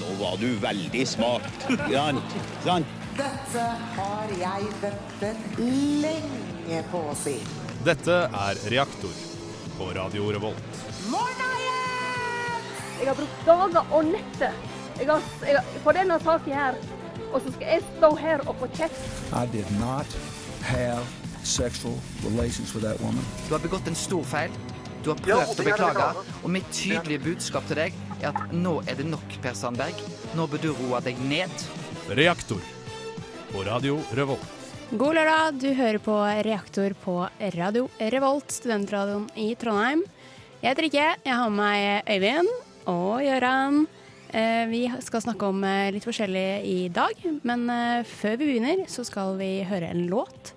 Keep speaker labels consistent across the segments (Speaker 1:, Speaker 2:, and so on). Speaker 1: Nå var du veldig smart. Ja, sant?
Speaker 2: Dette har jeg ventet lenge på å si.
Speaker 3: Dette er Reaktor på Radio Revolt.
Speaker 2: Morna igjen!
Speaker 4: Jeg har brukt dager og netter jeg har, jeg har, på denne saken her. Og så skal jeg stå her og få kjeft.
Speaker 5: I did not have sexual relations with that woman.
Speaker 6: Du har begått en stor feil. Du har prøvd å beklage. Og mitt tydelige budskap til deg er at nå er det nok, Per Sandberg. Nå bør du roe deg ned.
Speaker 3: Reaktor på Radio Revolt.
Speaker 7: God lørdag, du hører på Reaktor på Radio Revolt, studentradioen i Trondheim. Jeg heter Rikke, jeg har med meg Øyvind og Gøran. Eh, Vi skal snakke om eh, litt forskjellig i dag, men eh, før vi begynner så skal vi høre en låt.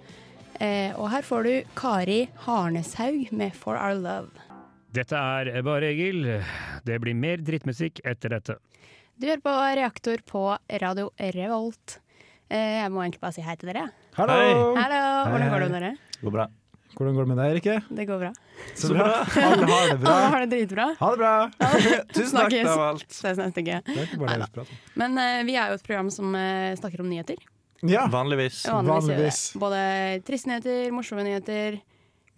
Speaker 7: Eh, Og her får du Kari Harneshaug med For Our Love.
Speaker 8: Dette er Bare Egil. Det blir mer drittmusikk etter dette.
Speaker 7: Du hører på Reaktor på Radio Revolt. Eh, Jeg må egentlig bare si hei til dere.
Speaker 9: Hallo!
Speaker 7: Hallo, hvordan går det med dere?
Speaker 9: Går bra. Hvordan går det med deg, Rikke?
Speaker 7: Det går bra.
Speaker 9: Så bra. Alle har det bra.
Speaker 7: Alle har det dritbra.
Speaker 9: Ha det bra! Tusen takk,
Speaker 7: Snakkes.
Speaker 9: det var alt.
Speaker 7: Ses neste uke.
Speaker 9: Det er ikke bare
Speaker 7: Neida.
Speaker 9: løsprat.
Speaker 7: Men eh, vi er jo et program som eh, snakker om nyheter.
Speaker 9: Ja.
Speaker 3: Vanligvis.
Speaker 7: Vanligvis. gjør vi
Speaker 9: Vanligvis.
Speaker 7: det. Både triste nyheter, morsomme nyheter,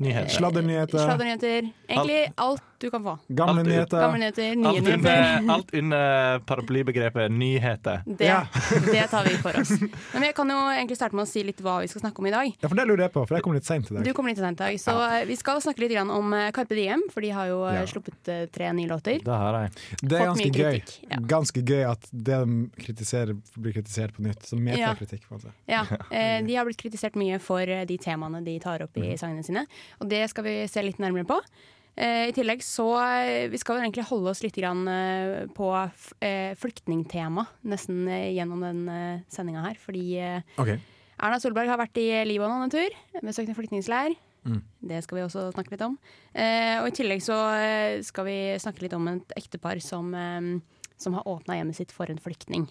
Speaker 3: Nyheter.
Speaker 9: Sladdernyheter,
Speaker 7: sladdernyheter. Egentlig alt du kan få.
Speaker 9: gamle
Speaker 3: Alt-
Speaker 9: nyheter.
Speaker 7: Gamle nyheter, nye
Speaker 3: Alt
Speaker 7: nyheter.
Speaker 3: under, alt under paraplybegrepet nyheter.
Speaker 7: Det,
Speaker 9: Ja.
Speaker 7: det tar vi for oss. Men jeg kan jo egentlig starte med å si litt hva vi skal snakke om i dag.
Speaker 9: Ja, for det lurer jeg på, for jeg kom litt seint i
Speaker 7: Du
Speaker 9: dag.
Speaker 7: kommer litt sent i dag, så eh, vi skal snakke litt grann om eh, Carpe Diem, for de har jo eh,
Speaker 9: Ja.
Speaker 7: sluppet eh, tre nye låter.
Speaker 3: Det har jeg.
Speaker 9: Det er
Speaker 7: Fått mye
Speaker 9: ganske gøy.
Speaker 7: kritikk, ja.
Speaker 9: Ganske gøy at det de kritiserer, blir kritisert på nytt. Så metakritikk, på en måte.
Speaker 7: Ja, eh, De har blitt kritisert mye for eh, de temaene de tar opp i sangene sine. Og det skal vi se litt nærmere på. Eh, I tillegg så eh, Vi skal vel egentlig holde oss litt grann, eh, på f- eh, flyktningtema nesten eh, gjennom den eh, sendinga her. Fordi eh,
Speaker 9: Ok.
Speaker 7: Erna Solberg har vært i Libanon en tur. Besøkt en flyktningleir. Det skal vi også snakke litt om. Eh, og I tillegg så eh, skal vi snakke litt om et ektepar som, eh, som har åpna hjemmet sitt for en flyktning.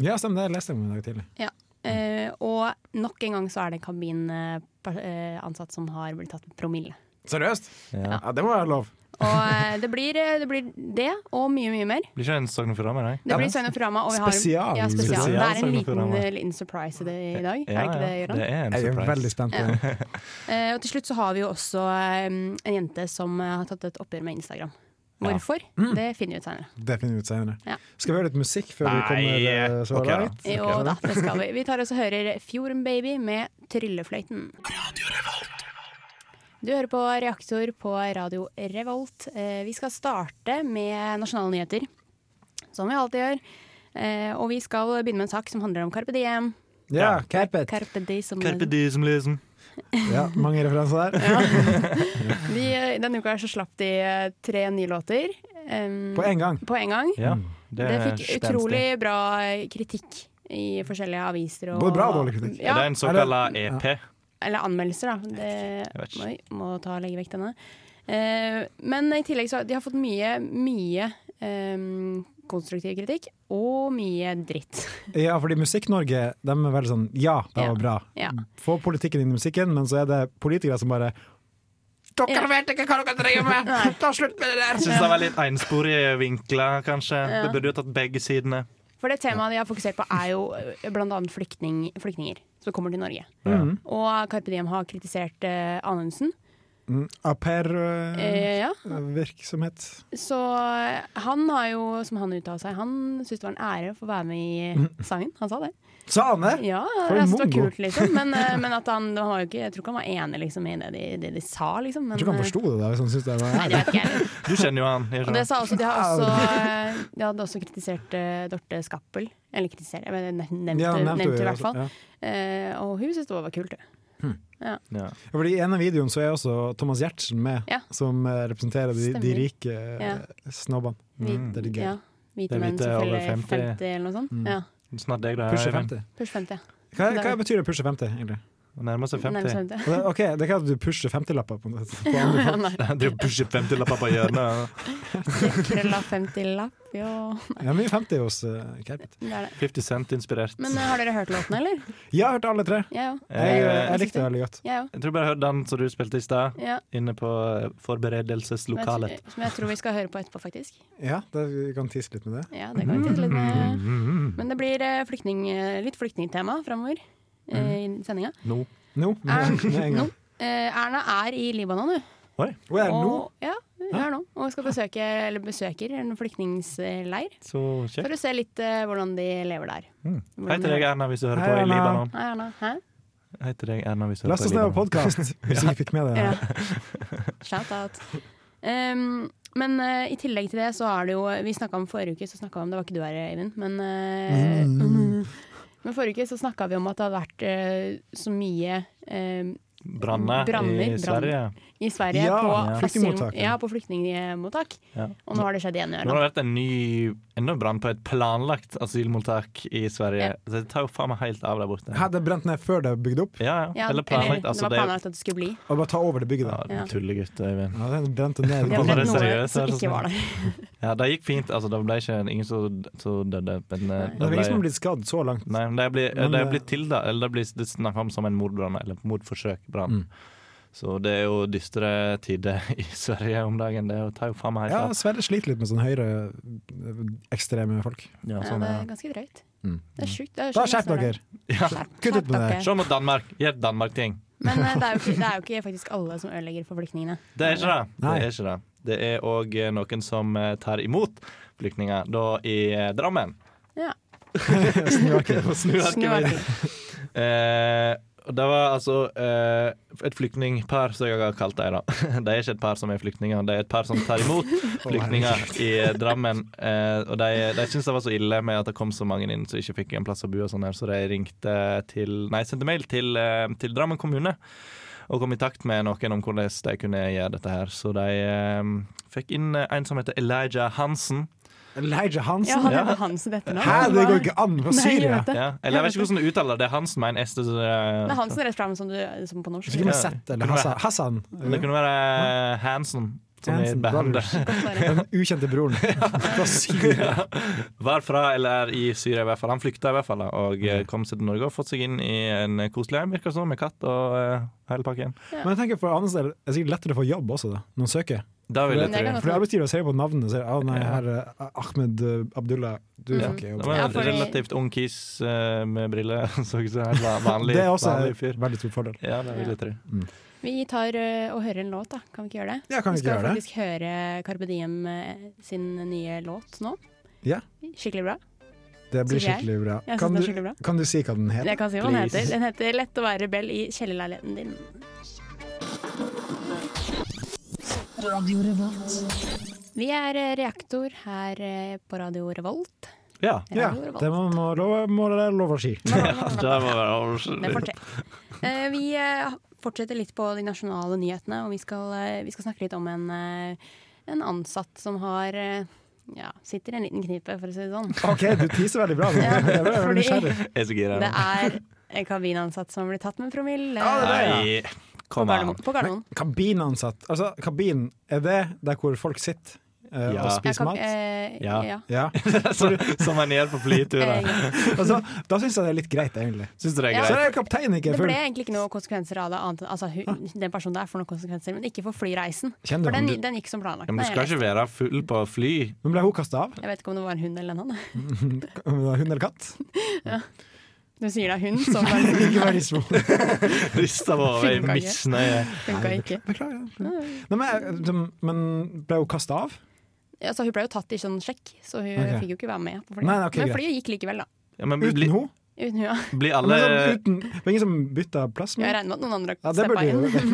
Speaker 9: Ja, stemmer det. Jeg leste om det i dag tidlig.
Speaker 7: Ja. Eh, og nok en gang så er det en eh, kabinansatt som har blitt tatt med promille.
Speaker 9: Seriøst? Ja, det må være lov.
Speaker 7: Og eh, det, blir, eh, det blir det, og mye, mye mer.
Speaker 3: Blir ikke en Sogn og Fjordane, nei?
Speaker 7: Det blir Svein og Frama, og vi har
Speaker 9: Spesial.
Speaker 7: Ja, spesial.
Speaker 3: Spesial
Speaker 7: Det er en
Speaker 3: Svein og
Speaker 7: liten,
Speaker 3: Frama.
Speaker 7: eh, liten surprise i, det, i dag, er det ikke det, Gøran?
Speaker 3: det er en
Speaker 9: Jeg er
Speaker 3: surprise.
Speaker 9: veldig spent på det.
Speaker 7: Eh, og til slutt så har vi jo også eh, en jente som eh, har tatt et oppgjør med Instagram. Hvorfor? Det finner vi ut seinere.
Speaker 9: Det finner vi ut senere.
Speaker 7: Ja.
Speaker 9: Skal vi høre litt musikk før vi kommer eh,
Speaker 3: Nei,
Speaker 9: så
Speaker 3: ok, da.
Speaker 9: langt?
Speaker 7: Jo da, det skal vi. Vi tar også og hører Fjorden Baby med Tryllefløyten. Du hører på Reaktor på Radio Revolt. Eh, vi skal starte med nasjonale nyheter, som vi alltid gjør. Eh, og vi skal begynne med en sak som handler om Carpe Diem.
Speaker 9: Ja, Carpet.
Speaker 7: Carpe Diem som
Speaker 3: Carpe diem, liksom.
Speaker 9: Ja, mange referanser der.
Speaker 7: de, eh, Denne uka her så slapp de eh, tre nye låter eh,
Speaker 9: På én gang.
Speaker 7: på en gang.
Speaker 3: Ja,
Speaker 9: Mm.
Speaker 7: Det,
Speaker 3: er
Speaker 7: fikk
Speaker 3: spenstig.
Speaker 7: utrolig bra eh, kritikk i forskjellige aviser. Og,
Speaker 9: Både bra og dårlig kritikk.
Speaker 3: Ja,
Speaker 7: Ja,
Speaker 3: det er en såkalt E EP.
Speaker 7: eller anmeldelser, da. Det,
Speaker 3: vet ikke.
Speaker 7: oi, må ta og legge vekk denne. Eh, men i tillegg så har de har fått mye, mye eh, konstruktiv kritikk, og mye dritt.
Speaker 9: Ja, fordi Musikk-Norge de er veldig sånn Ja, det
Speaker 7: Ja.
Speaker 9: var bra.
Speaker 7: Ja.
Speaker 9: Få politikken inn i musikken, men så er det politikere som bare
Speaker 7: Ja.
Speaker 6: Dere vet ikke hva dere driver med! Ta slutt med det der!
Speaker 3: Syns det var litt ensporige vinkler, kanskje. Det burde jo tatt begge sidene.
Speaker 7: For det temaet de har fokusert på, er jo eh, blant annet flyktning, flyktninger som kommer til Norge.
Speaker 3: Mhm.
Speaker 7: Og Carpe Diem har kritisert eh, Anundsen.
Speaker 9: Au-pair-virksomhet.
Speaker 7: Eh, ja. Så eh, han har jo, som han uttalte seg, han syntes det var en ære å få være med i sangen. Han sa det.
Speaker 9: Sa han det?
Speaker 7: Ja,
Speaker 9: For
Speaker 7: jeg
Speaker 9: en
Speaker 7: synes det var
Speaker 9: mongo.
Speaker 7: kult, liksom. Men, eh, men at han, han var jo ikke, jeg tror ikke han var enig liksom, i det de, det de sa, liksom. Men,
Speaker 9: Jeg tror ikke han forsto det, da, hvis han syntes det var
Speaker 7: eh, Nei, det vet ikke jeg.
Speaker 3: Du kjenner jo han. gjør
Speaker 7: Og
Speaker 3: ikke
Speaker 7: det
Speaker 3: det?
Speaker 7: sa også, de, har også, eh, de hadde også kritisert eh, Dorte Skappel. Eller kritisert, jeg mener, nev- nevnte,
Speaker 9: Ja, han nevnte
Speaker 7: nevnte
Speaker 9: det,
Speaker 7: i hvert fall.
Speaker 9: altså, ja. Mm,
Speaker 7: Eh, og hun syntes det var kult. det.
Speaker 3: Ja.
Speaker 9: Ja, fordi I en av videoen så er også Thomas Giertsen med,
Speaker 7: Ja.
Speaker 9: som eh, representerer de, de
Speaker 7: Stemmer.
Speaker 9: rike eh,
Speaker 7: Ja.
Speaker 9: snobbene. Mm,
Speaker 7: Hvit-
Speaker 9: Det er eh, litt gøy.
Speaker 7: Ja,
Speaker 3: Det er
Speaker 7: hvite menn
Speaker 3: hvite
Speaker 7: som
Speaker 3: over
Speaker 7: fyller 50.
Speaker 3: 50.
Speaker 9: Mm.
Speaker 7: eller noe sånt. Ja,
Speaker 3: Snart deg, da.
Speaker 9: Pusher
Speaker 3: Øyvind.
Speaker 9: 50.
Speaker 7: Push 50.
Speaker 9: Hva, hva betyr det pusher 50, egentlig?
Speaker 3: Nærmer seg
Speaker 7: Nærmest
Speaker 3: 50.
Speaker 7: 50.
Speaker 9: Og det- OK, det er ikke at du pusher 50-lapper på, på andre folk.
Speaker 7: Nei,
Speaker 3: Driver og pusher 50-lapper på hjørnet.
Speaker 7: Krølla 50-lapp, jo.
Speaker 9: Det er mye 50 hos eh, Kermit.
Speaker 7: Det er det.
Speaker 3: 50 Cent-inspirert.
Speaker 7: Men eh, har dere hørt låten, eller?
Speaker 9: Jeg har hørt alle tre.
Speaker 7: Jeg òg.
Speaker 9: Jeg, eh,
Speaker 3: Eh,
Speaker 9: jeg likte det veldig godt.
Speaker 7: Jeg òg.
Speaker 3: Jeg tror bare jeg hørte den som du spilte i stad,
Speaker 7: Ja.
Speaker 3: inne på eh,
Speaker 7: Som jeg
Speaker 3: forberedelseslokalet.
Speaker 7: tr- som jeg tror vi skal høre på etterpå, faktisk.
Speaker 9: Ja, da vi kan tisse litt med det.
Speaker 7: Ja, det kan vi titte litt med. Men det blir eh, flyktning, eh, litt flyktningtema framover eh, i sendinga.
Speaker 3: Nå.
Speaker 9: Nå, med, med en gang.
Speaker 7: Eh, Erna er i Libanon, du.
Speaker 3: Oi,
Speaker 9: Hun er nå.
Speaker 7: Og, ja, hun er nå. Og skal besøke, eller besøker en flyktningleir.
Speaker 3: så kjekt.
Speaker 7: For å se litt eh, hvordan de lever der. Hvordan
Speaker 3: Hei til
Speaker 7: de-
Speaker 3: deg, Erna, hvis du hører
Speaker 9: Hei,
Speaker 3: på i
Speaker 9: Erna.
Speaker 3: Libanon.
Speaker 7: Hei, Erna. Hæ?
Speaker 3: Hei til deg, Erna, hvis du hører
Speaker 9: Last
Speaker 3: på i
Speaker 9: oss ned på
Speaker 3: Libanon.
Speaker 9: podkast, hvis vi fikk med det.
Speaker 7: Ja. Shout-out. Um, men eh, i tillegg til det så er det jo Vi snakka om forrige uke, så snakket vi om Det var ikke du her, Eivind, men eh, Men forrige uke så snakka vi om at det hadde vært eh, så mye eh,
Speaker 3: Branner
Speaker 7: Branner,
Speaker 3: i Sverige.
Speaker 7: i Sverige
Speaker 9: Ja,
Speaker 7: på,
Speaker 9: ja.
Speaker 7: asyl-
Speaker 9: flyktningmottak, ja.
Speaker 7: ja, på flyktningmottak.
Speaker 3: Ja.
Speaker 7: Og nå har det skjedd igjen i
Speaker 3: Nå har
Speaker 7: Ørland.
Speaker 3: det vært en ny enda en brann på et planlagt asylmottak i Sverige.
Speaker 7: Ja.
Speaker 3: Så det tar jo faen meg helt av der borte.
Speaker 9: Her, det brant ned før det er bygd opp,
Speaker 3: Ja,
Speaker 7: Ja,
Speaker 3: ja. Eller planlagt.
Speaker 7: eller,
Speaker 3: Altså, det
Speaker 7: det var
Speaker 3: er
Speaker 7: planlagt at det skulle bli.
Speaker 9: og bare ta over det bygget
Speaker 3: ja,
Speaker 9: der.
Speaker 3: du tullegutt, Øyvind.
Speaker 9: Ja, den brente ned.
Speaker 3: Ja,
Speaker 7: Det
Speaker 3: men
Speaker 7: ble
Speaker 3: det er
Speaker 7: noe
Speaker 3: seriøst,
Speaker 7: som
Speaker 3: det er
Speaker 7: ikke
Speaker 3: sånn.
Speaker 7: var der.
Speaker 3: Ja, det gikk fint. Altså, det ble ikke ingen som som døde. Men eh,
Speaker 9: Det
Speaker 3: det
Speaker 9: er ingen som har liksom
Speaker 3: ble
Speaker 9: blitt skadd så langt.
Speaker 3: Nei, men det blir,
Speaker 9: Men
Speaker 3: det
Speaker 9: det-
Speaker 3: blir tilda, eller det blir det er snakket om som en mordbrann, eller mordforsøkbrann.
Speaker 9: Mm.
Speaker 3: Så det er jo dystre tider i Sverige om dagen. Det er jo- tar jo faen meg helt
Speaker 9: Ja,
Speaker 3: av.
Speaker 9: Sverre sliter litt med sånn høyre eh, ekstreme folk.
Speaker 3: Ja,
Speaker 7: Ja,
Speaker 3: sånn,
Speaker 7: det
Speaker 3: ja.
Speaker 7: er ganske drøyt.
Speaker 9: Mm.
Speaker 7: Det er sjukt. det er
Speaker 9: Da
Speaker 7: sjukt
Speaker 9: skjerp
Speaker 7: nesten
Speaker 9: dere!
Speaker 7: Ørland.
Speaker 9: Kutt ut med det.
Speaker 7: Skjerp dere.
Speaker 3: Se mot Danmark. Gjør Danmark-ting.
Speaker 7: Men eh, det er, jo ikke, det er jo ikke faktisk alle som ødelegger for flyktningene.
Speaker 3: Det er ikke det. Det
Speaker 9: Nei.
Speaker 3: er ikke det. Det er òg noen som eh, tar imot flyktninger, da i eh, Drammen.
Speaker 7: Ja.
Speaker 3: Og snur arket
Speaker 7: Snur
Speaker 3: mitt. Eh, og det var altså eh, et flyktningpar, som jeg har kalt dem. da. De er ikke et par som er flyktninger, det er et par som tar imot flyktninger i eh, Drammen. Eh, og de, de syntes det var så ille med at det kom så mange inn som ikke fikk en plass å bo, og sånn her, så de ringte til, nei, sendte mail til, eh, til Drammen kommune og kom i takt med noen om hvordan de kunne gjøre dette her. Så de eh, fikk inn eh, en som heter Elijah Hansen.
Speaker 9: Elijah
Speaker 7: Ja,
Speaker 9: Hansen?
Speaker 7: han heter Hansen etter nå.
Speaker 9: Hæ, det går ikke an! Fra
Speaker 7: Nei, jeg
Speaker 9: Syria!
Speaker 7: vet det.
Speaker 3: Ja. Eller jeg vet ikke hvordan du uttaler det. Det er eh, Hansen med en S. Det,
Speaker 7: Det er Hansen rett fram som, du, som på
Speaker 9: Så
Speaker 7: norsk.
Speaker 9: ikke med Z eller Hassan. Hassan.
Speaker 3: det kunne være Hansen. Som sånn i
Speaker 9: Hansen
Speaker 3: bandet.
Speaker 9: Brothers.
Speaker 7: Bare.
Speaker 9: Den ukjente broren. Fra Syria.
Speaker 3: Var fra eller er i Syria, i hvert fall. Han flykta i hvert fall da, og eh, kom seg til Norge og fått seg inn i en koselig hjem, virker det som, med katt og eh, hele pakken.
Speaker 9: Men jeg tenker for Anders del, det er sikkert lettere å få jobb også, da, når man søker.
Speaker 3: Da vil jeg
Speaker 7: Men det
Speaker 3: tro.
Speaker 7: kan godt
Speaker 9: Fordi arbeidsgiver ser på navnet og sier «Å nei, her er Ahmed eh, Abdullah, du
Speaker 7: Mm.
Speaker 3: Ja.
Speaker 9: får ikke
Speaker 3: Det
Speaker 9: jobb.
Speaker 3: var
Speaker 7: Ja,
Speaker 3: en
Speaker 7: fordi-
Speaker 3: relativt ung kis eh, med briller. Så ikke så helt va- vanlig,
Speaker 9: Det er også
Speaker 3: vanlig fyr.
Speaker 9: en veldig stor fordel.
Speaker 3: Ja, det vil jeg tro.
Speaker 7: Vi tar ø, og hører en låt, da. Kan vi ikke gjøre det?
Speaker 9: Ja, kan vi ikke
Speaker 7: skal
Speaker 9: gjøre det?
Speaker 7: faktisk høre Carpe Diem ø, sin nye låt nå.
Speaker 9: Ja.
Speaker 7: Skikkelig bra.
Speaker 9: Det
Speaker 7: Synes
Speaker 9: blir
Speaker 7: jeg.
Speaker 9: skikkelig bra.
Speaker 7: Jeg synes
Speaker 9: Kan
Speaker 7: det
Speaker 9: du,
Speaker 7: er skikkelig bra.
Speaker 9: kan du si hva den
Speaker 7: Jeg
Speaker 9: heter?
Speaker 7: kan si hva den
Speaker 9: please.
Speaker 7: heter. Den heter 'Lett å være rebell i kjellerleiligheten din'. Vi er ø, Reaktor her ø, på Radio Revolt.
Speaker 3: Ja.
Speaker 9: Ja,
Speaker 7: Radio Revolt.
Speaker 9: det må, må, lov- må det lov å si.
Speaker 3: Det må
Speaker 7: Det
Speaker 3: være
Speaker 7: får til. Eh, vi eh, fortsetter litt på de nasjonale nyhetene, og vi skal, eh, vi skal snakke litt om en, eh, en ansatt som har eh, ja, sitter i en liten knipe, for å si det sånn.
Speaker 9: OK, du teaser veldig bra. nå.
Speaker 7: Ja,
Speaker 9: Jeg ble veldig nysgjerrig.
Speaker 7: fordi
Speaker 3: Jeg er så gira.
Speaker 7: det
Speaker 3: nå.
Speaker 7: er en kabinansatt som blir tatt med promille
Speaker 3: Nei,
Speaker 7: på
Speaker 3: kom an.
Speaker 7: Gardermoen. På Gardermoen.
Speaker 9: Kabinansatt. Altså, kabin, er det der hvor folk sitter eh,
Speaker 3: Ja.
Speaker 9: og
Speaker 7: Ja,
Speaker 9: spiser
Speaker 7: kab-
Speaker 9: mat?
Speaker 7: eh,
Speaker 3: Ja.
Speaker 7: ja.
Speaker 9: Ja.
Speaker 3: Så- Som en gjør på
Speaker 7: Eh,
Speaker 3: flyturer.
Speaker 7: ja.
Speaker 9: Altså, da syns jeg det er litt greit, egentlig.
Speaker 3: Syns du det er
Speaker 7: Ja.
Speaker 9: Så
Speaker 3: greit?
Speaker 9: er kapteinen ikke
Speaker 7: Det
Speaker 9: full.
Speaker 7: ble egentlig ikke noen konsekvenser av det, annet enn altså, hun, den personen der får noen konsekvenser, men ikke for flyreisen.
Speaker 9: Kjenner
Speaker 7: For
Speaker 9: du han?
Speaker 7: den, den gikk som planlagt.
Speaker 3: Ja, men du
Speaker 7: Nei,
Speaker 3: skal
Speaker 7: jeg,
Speaker 3: ikke være full på fly.
Speaker 9: Men ble hun kasta av?
Speaker 7: vet, jeg vet ikke om det var en hund eller en hann.
Speaker 9: Om det var Hund eller katt?
Speaker 7: Du sier det er hund, så bare
Speaker 9: Ikke vær litt små.
Speaker 3: Rista på hodet i
Speaker 7: Funker ikke.
Speaker 3: misnøye.
Speaker 7: funka ikke.
Speaker 9: Beklager. Nei, men, jeg- de- men ble hun kasta av?
Speaker 7: Ja, så hun ble jo tatt i sånn sjekk, så hun
Speaker 9: Ok.
Speaker 7: fikk jo ikke være med. på flyet.
Speaker 9: Nei, nei, ok,
Speaker 7: Men
Speaker 9: greit.
Speaker 7: flyet gikk likevel, da.
Speaker 3: Ja, men bli,
Speaker 9: Uten hun?
Speaker 7: Uten hun, ja.
Speaker 3: blir
Speaker 9: Men sånn,
Speaker 3: alle eh,
Speaker 9: uten, det var ingen som bytta plass
Speaker 7: Jeg
Speaker 9: med henne?
Speaker 7: regner med at noen andre
Speaker 9: Ja,
Speaker 7: har
Speaker 9: det
Speaker 7: steppa
Speaker 9: burde
Speaker 7: inn,
Speaker 9: jo- det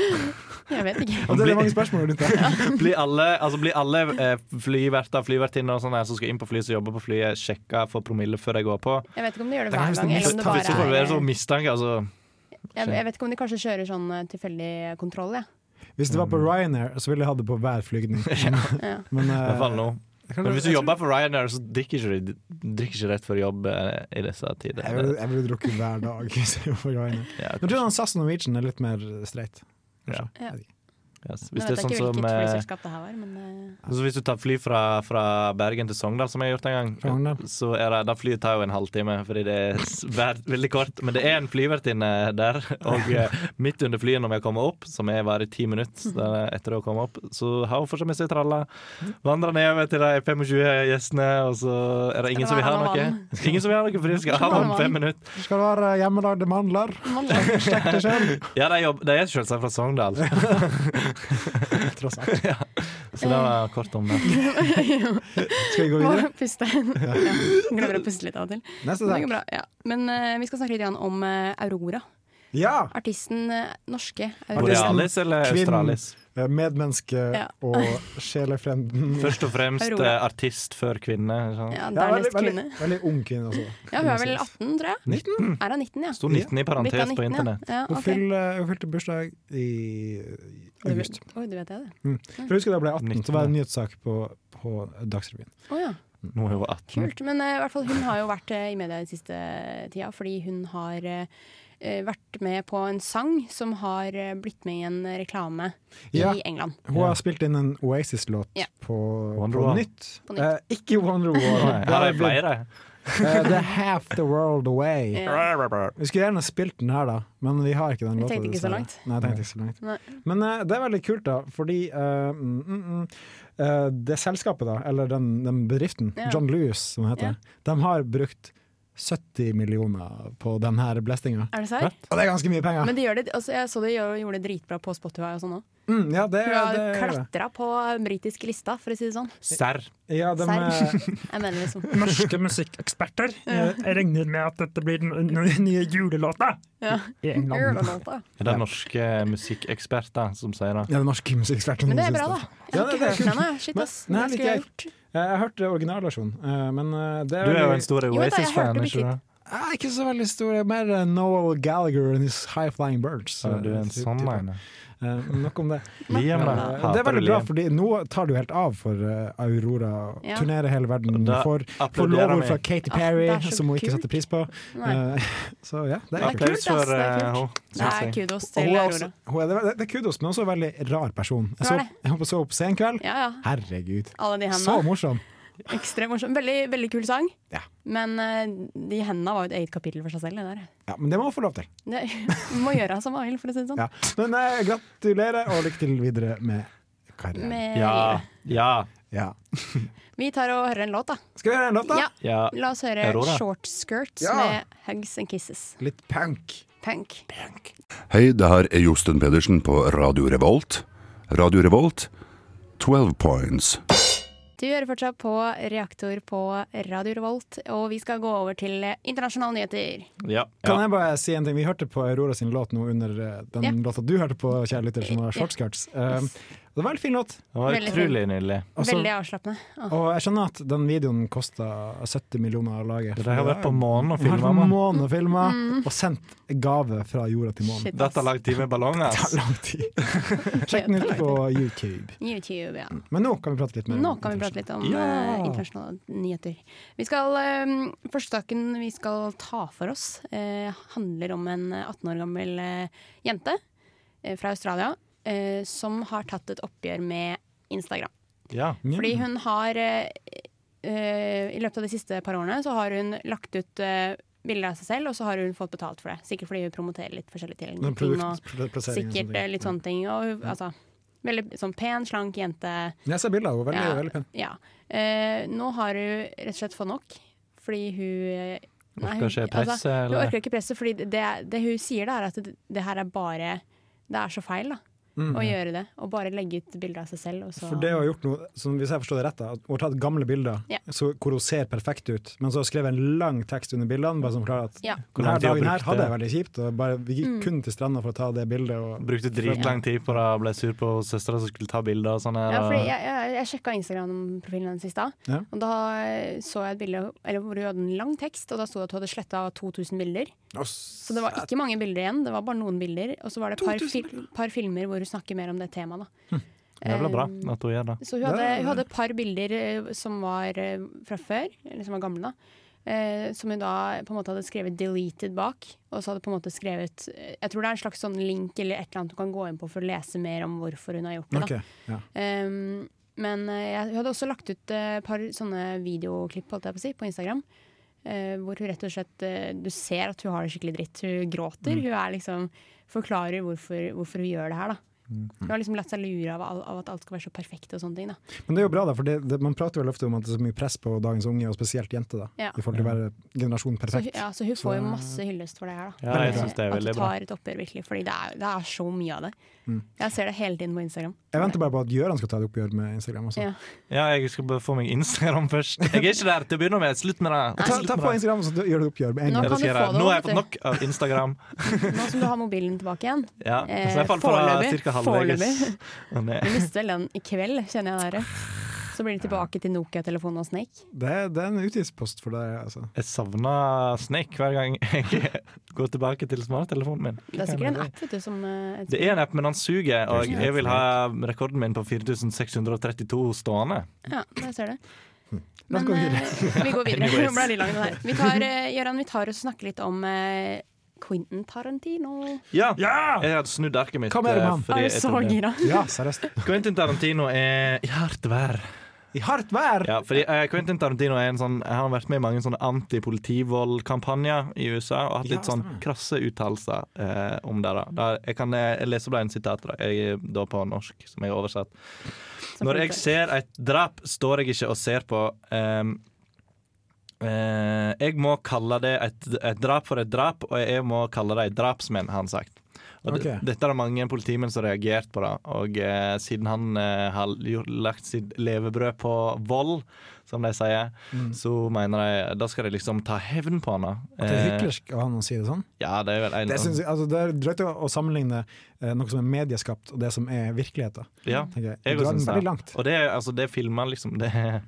Speaker 7: men eh, jeg vet ikke.
Speaker 9: Og det er mange spørsmål rundt det.
Speaker 3: Blir alle, altså blir alle eh, flyverter flyvertinner og sånne her som skal inn på fly, som jobber på flyet, sjekka for promille før de går på?
Speaker 7: Jeg vet ikke om de gjør det
Speaker 9: Det er
Speaker 7: hver
Speaker 9: nesten
Speaker 7: gang. Eller om det
Speaker 9: mistanke.
Speaker 3: Plutselig får du
Speaker 7: bare
Speaker 3: være så
Speaker 7: er,
Speaker 3: mistanke. Altså.
Speaker 7: jeg, jeg vet ikke om de kanskje kjører sånn eh, tilfeldig kontroll, ja.
Speaker 9: Hvis det var på Ryanair, så ville jeg hatt det på hver flygning. Men,
Speaker 7: Ja.
Speaker 9: men, eh,
Speaker 3: I hvert fall nå.
Speaker 9: kan-
Speaker 3: Men hvis du
Speaker 9: jeg tror-
Speaker 3: jobber for Ryanair, så drikker ikke du drikker ikke rett før jobb eh, i disse tider.
Speaker 9: Jeg ville, jeg ville drukket hver dag. hvis jeg var Ryanair.
Speaker 3: Ja,
Speaker 9: Men tror jeg han SAS og Norwegian er litt mer streit.
Speaker 3: Ja.
Speaker 9: kanskje. Jeg vet ikke.
Speaker 3: yes.
Speaker 7: Nå
Speaker 3: Hvis det er
Speaker 7: vet jeg
Speaker 3: sånn
Speaker 7: ikke
Speaker 3: som
Speaker 7: hvilket
Speaker 3: eh,
Speaker 7: flyselskap det her var, men eh,
Speaker 3: så Hvis du tar fly fra, fra Bergen til Sogndal, som jeg har gjort en
Speaker 9: Fra
Speaker 3: gang,
Speaker 9: Sogndal.
Speaker 3: så er det, da flyet tar jo en halvtime, fordi det er s- vær, veldig kort. Men det er en flyvertinne der, og eh, midt under flyet når vi har kommet opp, som er bare ti minutter der etter å komme opp, så har hun fortsatt med seg tralla. Vandrer nedover til de 25 gjestene, og så er det ingen som vil ha
Speaker 7: han og
Speaker 3: noe.
Speaker 7: vann.
Speaker 3: Ingen som vil ha noe, for de skal ha
Speaker 7: Han og
Speaker 3: om
Speaker 7: vann.
Speaker 3: fem minutter.
Speaker 9: Skal det være hjemmelagde mandler? Stek det selv.
Speaker 3: Ja, de, jobb, de er selvsagt fra Sogndal,
Speaker 9: Tross alt.
Speaker 3: så det var kort om det.
Speaker 7: eh.
Speaker 9: Skal vi gå
Speaker 7: må
Speaker 9: videre?
Speaker 7: puste. ja, glemmer å puste litt av og til.
Speaker 9: Neste
Speaker 7: Men Det går
Speaker 9: sak.
Speaker 7: bra. Ja. Men eh, vi skal snakke litt grann om eh, Aurora.
Speaker 9: Ja!
Speaker 7: Artisten eh, norske Aurora.
Speaker 3: Borealis eller
Speaker 9: Kvinn.
Speaker 3: Australis?
Speaker 9: eh, Medmenneske
Speaker 7: Ja.
Speaker 9: og sjelefrenden.
Speaker 3: Først og fremst
Speaker 7: Aurora.
Speaker 3: eh, artist før kvinne. sånn.
Speaker 7: Ja,
Speaker 9: Ja,
Speaker 7: dernest
Speaker 9: veldig, veldig,
Speaker 7: kvinne.
Speaker 9: veldig ung kvinne, altså.
Speaker 7: Ja, hun er vel 18, tror jeg.
Speaker 9: Mm.
Speaker 3: 19.
Speaker 7: Er hun 19, ja?
Speaker 3: Sto 19 i
Speaker 7: Blitt av
Speaker 3: parentes på
Speaker 7: 19, ja.
Speaker 3: internett.
Speaker 7: Ja,
Speaker 9: Hun
Speaker 7: ok.
Speaker 9: fyller- hun fylte bursdag i
Speaker 7: Du-
Speaker 9: august.
Speaker 7: Oi, du vet jeg det.
Speaker 9: For jeg husker da jeg ble 18, så var det en nyhetssak på, på Dagsrevyen.
Speaker 7: Å ja,
Speaker 3: Nå er hun 18.
Speaker 9: Mm.
Speaker 7: kult. Men eh, i hvert fall, hun har jo vært eh, i media den siste eh, tida, fordi hun har eh, eh, vært med på en sang som har eh, blitt med i en reklame
Speaker 9: Ja.
Speaker 7: i England.
Speaker 9: Hun har spilt inn en Oasis-låt
Speaker 7: Ja.
Speaker 9: på, på
Speaker 3: Wonderwall.
Speaker 9: nytt.
Speaker 7: På nytt.
Speaker 9: Eh, ikke Wonderwall.
Speaker 3: Nei, Her er flere.
Speaker 9: Eh, det er Half the World Away.
Speaker 7: Eh,
Speaker 9: Vi skulle gjerne spilt den her, da, men vi har ikke den
Speaker 7: Vi
Speaker 9: låta.
Speaker 7: tenkte ikke så
Speaker 9: dessverre.
Speaker 7: langt.
Speaker 9: Nei, jeg tenkte ikke så langt.
Speaker 7: Nei.
Speaker 9: Men eh, det er veldig kult, da, fordi eh, mm, mm, mm, eh, det selskapet, da, eller den, den bedriften,
Speaker 7: Ja.
Speaker 9: John Lewis, som det heter, de har brukt 70 millioner på den her blastinga.
Speaker 7: Er det serr?
Speaker 9: Og det er ganske mye penger!
Speaker 7: Men de gjør det, altså, jeg så de gjør, gjorde det dritbra på Spotify og sånn òg.
Speaker 9: Mm, ja, det,
Speaker 7: Hun har
Speaker 9: det,
Speaker 7: klatra på britiske lista, for å si det sånn.
Speaker 3: Serr.
Speaker 9: ja, de,
Speaker 7: Serr.
Speaker 9: eh,
Speaker 7: Jeg mener liksom
Speaker 10: Norske musikkeksperter. Jeg jeg regner med at dette blir den n- nye julelåta.
Speaker 7: ja.
Speaker 10: I England.
Speaker 7: Ørnelåta.
Speaker 3: Er det norske musikkeksperter som sier det?
Speaker 9: ja, den norske musikkeksperten.
Speaker 7: Men det er
Speaker 9: synes
Speaker 7: bra, da.
Speaker 9: det.
Speaker 7: Jeg
Speaker 9: Ja,
Speaker 7: har ikke
Speaker 9: det- det er
Speaker 7: hørt den
Speaker 9: kult.
Speaker 7: ennå. Shit, ass.
Speaker 9: Men-
Speaker 7: Det
Speaker 9: nei,
Speaker 7: skulle jeg
Speaker 9: liker
Speaker 7: gjort.
Speaker 9: Eh, Jeg hørte originalversjonen, eh, men eh, det er
Speaker 3: Du er jo
Speaker 9: veldig-
Speaker 3: en stor
Speaker 7: Jo, men da, jeg hørte
Speaker 3: Oasis-fan,
Speaker 7: det
Speaker 3: ikke sant?
Speaker 9: Jeg er ikke så veldig stor. Jeg er mer eh, Noel Gallagher and his High Flying Birds.
Speaker 3: Du er en sånn en.
Speaker 9: Eh, Nok om det.
Speaker 3: Liam, da.
Speaker 9: Eh, det er
Speaker 3: Hater du
Speaker 9: veldig bra,
Speaker 3: Liam?
Speaker 9: fordi nå tar det jo helt av for eh, Aurora.
Speaker 7: Ja.
Speaker 9: Turnerer hele verden.
Speaker 3: Da
Speaker 9: Får, får
Speaker 3: applauderer
Speaker 9: lover
Speaker 3: vi.
Speaker 9: fra Katy
Speaker 7: Ah,
Speaker 9: Perry,
Speaker 7: det er så
Speaker 9: som hun ikke
Speaker 7: kult.
Speaker 9: satte pris på.
Speaker 7: Nei.
Speaker 9: Eh, så ja, det er
Speaker 7: Nei,
Speaker 9: kult.
Speaker 3: Applaus
Speaker 7: kult, ass,
Speaker 3: for
Speaker 7: det er
Speaker 3: eh,
Speaker 7: kult.
Speaker 3: henne.
Speaker 7: Det
Speaker 3: synes
Speaker 7: er
Speaker 3: jeg.
Speaker 7: kudos
Speaker 9: Og
Speaker 7: til
Speaker 9: hun er også,
Speaker 7: Aurora.
Speaker 9: hun er, det- det er kudos, men også en veldig rar person. Jeg
Speaker 7: Hun
Speaker 9: så,
Speaker 7: er det.
Speaker 9: jeg så opp sen kveld.
Speaker 7: Ja, ja.
Speaker 9: Herregud,
Speaker 7: Alle de
Speaker 9: så
Speaker 7: hendene.
Speaker 9: morsom!
Speaker 7: Ekstremt morsom. Veldig, veldig kul sang.
Speaker 9: Ja.
Speaker 7: Men eh, de hendene var jo et eget kapittel for seg selv. Det der.
Speaker 9: Ja, men det må hun få lov til.
Speaker 7: Det, må gjøre som man vil, for å si det sånn.
Speaker 9: Ja. Men eh, gratulerer, og lykke til videre med karrieren.
Speaker 7: Med
Speaker 3: Ja.
Speaker 7: livet.
Speaker 3: Ja.
Speaker 9: Ja.
Speaker 7: Eh, Vi tar og hører en låt, da.
Speaker 9: Skal vi høre en låt, da?
Speaker 7: Ja,
Speaker 3: ja.
Speaker 7: La oss høre
Speaker 3: Aurora.
Speaker 7: Short Skirts
Speaker 9: Ja.
Speaker 7: med Hugs and Kisses.
Speaker 9: Litt punk.
Speaker 7: Punk.
Speaker 11: Hei, det her er Josten Pedersen på Radio Revolt. Radio Revolt, 12 points.
Speaker 7: Du hører fortsatt på Reaktor på Radio Revolt, og vi skal gå over til eh, internasjonale nyheter.
Speaker 3: ja.
Speaker 9: Kan
Speaker 3: ja.
Speaker 9: jeg bare si en ting? Vi hørte på Aurora sin låt nå under eh, den
Speaker 7: Ja.
Speaker 9: låta du hørte på, kjære lytter, som var Short Skirts. Um, det var en fin låt.
Speaker 3: Det var
Speaker 7: Veldig fin.
Speaker 3: utrolig nydelig.
Speaker 9: Også-
Speaker 7: Veldig avslappende. Åh.
Speaker 9: Og jeg skjønner at den videoen kosta 70 millioner å lage.
Speaker 3: De har vært på månen og
Speaker 9: Det er-
Speaker 3: filma,
Speaker 9: vært på
Speaker 3: mann.
Speaker 9: månen og filma,
Speaker 7: Mm.
Speaker 9: og sendt gave fra jorda til månen.
Speaker 7: Shit,
Speaker 3: Dette har
Speaker 7: ass.
Speaker 3: lagd time ballong, ass.
Speaker 9: Lang tid. Sjekk den ut på YouTube.
Speaker 7: YouTube, ja.
Speaker 9: Men nå kan vi prate litt mer. om
Speaker 7: Nå kan vi prate litt om eh, internasjonale nyheter. Vi skal, eh, Første saken vi skal ta for oss, eh, handler om en 18 år gammel eh, jente eh, fra Australia eh, som har tatt et oppgjør med Instagram.
Speaker 3: Ja.
Speaker 7: Fordi hun har eh, eh, I løpet av de siste par årene så har hun lagt ut eh, bilder av seg selv, og så har hun fått betalt for det. Sikkert fordi hun promoterer litt forskjellige ting.
Speaker 9: Men
Speaker 7: ting og,
Speaker 9: produktplassering og
Speaker 7: sikkert
Speaker 9: sånne
Speaker 7: eh,
Speaker 9: ting.
Speaker 7: litt sånne ting. Og hun, altså, veldig sånn pen, slank jente.
Speaker 9: Jeg ser bilder av henne. Veldig,
Speaker 7: Ja.
Speaker 9: veldig pen.
Speaker 7: Ja. Eh, nå har hun rett og slett fått nok, fordi hun eh, nei,
Speaker 3: Orker ikke
Speaker 7: hun- altså,
Speaker 3: presset,
Speaker 7: hun
Speaker 3: eller?
Speaker 7: orker ikke presset, fordi det, det, det hun sier, da, er at det, det her er bare Det er så feil, da. Å gjøre det. Og bare legge ut bilder av seg selv. Og så,
Speaker 9: Mm. For det hun har gjort noe, som hvis jeg forstår det rett, da, at hun har tatt gamle bilder
Speaker 7: Ja.
Speaker 9: så, hvor hun ser perfekt ut, men så har hun skrevet en lang tekst under bildene bare som forklarer at
Speaker 7: Ja. Mm.
Speaker 9: denne
Speaker 3: tid hun
Speaker 9: dagen her
Speaker 3: brukte.
Speaker 9: hadde jeg veldig kjipt, og bare, vi gikk kun til stranda for å ta det bildet. Og,
Speaker 3: Brukte dritlang tid på det, og ble sur på søstera som skulle ta bilder og sånn. her,
Speaker 7: Ja,
Speaker 3: og-
Speaker 7: fordi jeg, jeg, jeg sjekka Instagram-profilen hennes i stad,
Speaker 9: Ja.
Speaker 7: og da eh, så jeg et bilde eller, hvor hun hadde en lang tekst, og da sto det at hun hadde sletta 2000 bilder. Så det var ikke mange bilder igjen, det var bare noen bilder. Og så var det et par, fil par filmer hvor hun snakker mer om det temaet. da.
Speaker 3: Det er vel bra
Speaker 7: Um,
Speaker 3: at hun gjør det.
Speaker 7: Så hun hadde, hun hadde et par bilder eh, som var eh, fra før, eller som var gamle, da. eh, som hun da på en måte hadde skrevet 'deleted' bak. Og så hadde hun på en måte skrevet eh, Jeg tror det er en slags sånn link eller et eller annet du kan gå inn på for å lese mer om hvorfor hun har gjort det. da.
Speaker 9: Ok, ja.
Speaker 7: Um, men eh, jeg hun hadde også lagt ut eh, et par sånne videoklipp holdt jeg på, å si, på Instagram. eh, hvor hun rett og slett eh, Du ser at hun har det skikkelig dritt. Hun gråter.
Speaker 12: Mm.
Speaker 7: Hun er liksom, forklarer hvorfor, hvorfor hun gjør det her. da
Speaker 9: Mm.
Speaker 7: Hun har liksom latt seg lure av, all- av at alt skal være så perfekt. og sånne ting da
Speaker 9: Men det er jo bra, da, for det, det, man prater vel ofte om at det er så mye press på dagens unge, og spesielt jenter, da,
Speaker 7: Ja.
Speaker 9: i forhold til å være
Speaker 7: Så,
Speaker 9: generasjon
Speaker 7: hun-
Speaker 9: perfekt.
Speaker 7: ja, så hun får jo masse hyllest for det her. da
Speaker 9: Ja, jeg synes det er
Speaker 7: At hun
Speaker 9: veldig bra.
Speaker 7: tar et oppgjør, virkelig. Fordi det er, det er så mye av det.
Speaker 9: Mm.
Speaker 7: Jeg ser det hele tiden på Instagram.
Speaker 9: Jeg venter bare på at Gøran skal ta et oppgjør med Instagram. Også.
Speaker 7: Ja.
Speaker 3: Ja, jeg skal bare få meg Instagram først. Jeg er ikke der til å begynne med. Slutt med det.
Speaker 9: Ta,
Speaker 3: Slutt
Speaker 9: ta
Speaker 3: med
Speaker 9: på
Speaker 3: det.
Speaker 9: Instagram, så gjør du oppgjør med en
Speaker 7: Nå
Speaker 9: gang.
Speaker 7: kan
Speaker 3: Det skal jeg
Speaker 7: du få
Speaker 3: gjøre.
Speaker 7: det
Speaker 3: Nå har jeg
Speaker 7: også,
Speaker 3: fått
Speaker 7: vet
Speaker 3: nok av Instagram.
Speaker 7: Nå som du har mobilen tilbake igjen.
Speaker 3: Ja, så
Speaker 7: Eh,
Speaker 3: jeg falt fra
Speaker 7: foreløpig-
Speaker 3: cirka halvveis.
Speaker 7: foreløpig.
Speaker 3: Å, nei.
Speaker 7: Vi mister vel den i kveld, kjenner jeg dere. Så blir det tilbake til Nokia-telefonen og Snake.
Speaker 9: Det, det er en utgiftspost for deg, altså.
Speaker 3: Jeg savner Snake hver gang jeg går tilbake til smarttelefonen min.
Speaker 7: Det er sikkert en app, vet du, som eh,
Speaker 3: Det er en app, men han suger, og
Speaker 7: Ja.
Speaker 3: jeg vil ha rekorden min på 4632 stående.
Speaker 7: Ja, der ser du.
Speaker 3: La oss gå videre.
Speaker 7: eh, vi går videre.
Speaker 3: Anyways.
Speaker 7: Nå ble det litt langt det her. Vi tar, eh, Gøran, vi tar og snakker litt om eh, Quentin Tarantino.
Speaker 3: Ja! Jeg hadde snudd arket mitt.
Speaker 7: Hva mer om
Speaker 3: eh,
Speaker 7: han?
Speaker 3: fordi
Speaker 7: Er du
Speaker 3: jeg
Speaker 7: så
Speaker 3: trodde-
Speaker 7: gira?
Speaker 9: Ja, seriøst.
Speaker 3: Quentin Tarantino er i hardt vær.
Speaker 9: I hardt vær?
Speaker 3: Ja, fordi eh, Quentin Tarantino er en sånn, han har vært med i mange sånne antipolitivoldkampanjer i USA og hatt
Speaker 9: Ja,
Speaker 3: litt sånn krasse uttalelser eh, om det. da. da jeg kan eh, lese bare en sitat da. Jeg, er da på norsk, som jeg har oversatt. Når jeg ser et drap, står jeg ikke og ser på. Ehm, eh, jeg må kalle det et, et drap for et drap, og jeg må kalle det et drapsmenn, har han sagt. Og det-
Speaker 9: Ok.
Speaker 3: dette er det mange politimenn som har reagert på, da. og eh, siden han eh, har gjort- lagt sitt levebrød på vold, som de sier,
Speaker 9: Mm.
Speaker 3: så mener de da skal de liksom ta hevn på han. da.
Speaker 9: At det er
Speaker 3: Eh,
Speaker 9: hyklersk av han å si det sånn.
Speaker 3: Ja, det er vel en
Speaker 9: Det, synes jeg, altså, det er drøyt å å sammenligne eh, noe som er medieskapt, og det som er virkeligheten.
Speaker 3: Ja,
Speaker 9: tenker jeg.
Speaker 3: jeg
Speaker 9: Du
Speaker 3: også
Speaker 9: drar den
Speaker 3: synes
Speaker 9: veldig
Speaker 3: det.
Speaker 9: langt. Mm.
Speaker 3: Og det er, altså, det er filmer, liksom. Det, er-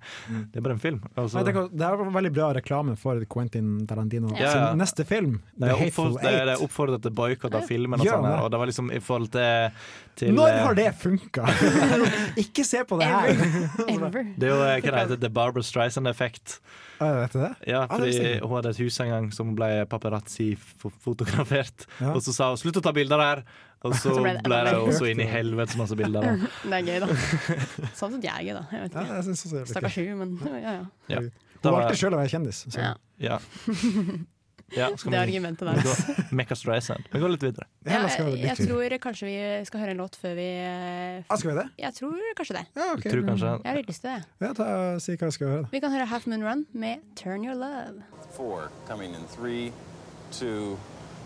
Speaker 3: det er bare en film. Altså,
Speaker 9: Nei, det, kan- det her var veldig bra reklame for Quentin Tarantino.
Speaker 3: Ja, ja.
Speaker 9: Sin neste film,
Speaker 3: Det
Speaker 9: The
Speaker 3: er
Speaker 9: Hateful
Speaker 3: oppfordret, det er
Speaker 9: Eight.
Speaker 3: oppfordret til boikott av filmen. Og
Speaker 9: Gjør
Speaker 3: sånn her
Speaker 9: det.
Speaker 3: Og det var liksom i forhold til, til eh,
Speaker 9: Når har det funka? Ikke se på det her!
Speaker 3: Det er jo eh, hva det heter The Barbara Streisand-effekt.
Speaker 9: Ah, vet du det?
Speaker 3: Ja,
Speaker 9: Ah, det
Speaker 3: fordi
Speaker 9: visste jeg ikke.
Speaker 3: Hun hadde et hus en gang som ble paparazzi-fotografert.
Speaker 9: Ja.
Speaker 3: Og så sa hun 'slutt å ta bilder her', og så
Speaker 7: Så
Speaker 3: ble
Speaker 7: ble det
Speaker 3: det
Speaker 7: enda
Speaker 3: jo
Speaker 7: mer.
Speaker 3: så inn i helvetes masse bilder. Da.
Speaker 7: Det er gøy, da. Sånn sett jeg er gøy, da. Jeg vet
Speaker 9: Ja, jeg synes også
Speaker 7: ikke.
Speaker 9: det er
Speaker 7: Stakkars hun, men ja, ja.
Speaker 3: Ja.
Speaker 9: Hun
Speaker 3: Da var-
Speaker 9: valgte sjøl å være kjendis. Så.
Speaker 7: Ja.
Speaker 3: Ja. Ja, skal
Speaker 7: Det
Speaker 3: vi-
Speaker 7: argumentet der.
Speaker 3: vi går- Mekka Streisand. Vi går litt videre.
Speaker 7: Ja, jeg, jeg tror kanskje vi skal høre en låt før vi eh,
Speaker 9: Ah, skal vi det?
Speaker 7: Jeg tror kanskje det.
Speaker 9: ok. Tror kanskje-
Speaker 7: Jeg har litt lyst til det.
Speaker 9: Ja, ta, si hva jeg skal høre. da.
Speaker 7: Vi kan høre Half Moon Run med Turn Your Love.
Speaker 13: Four coming in three, two,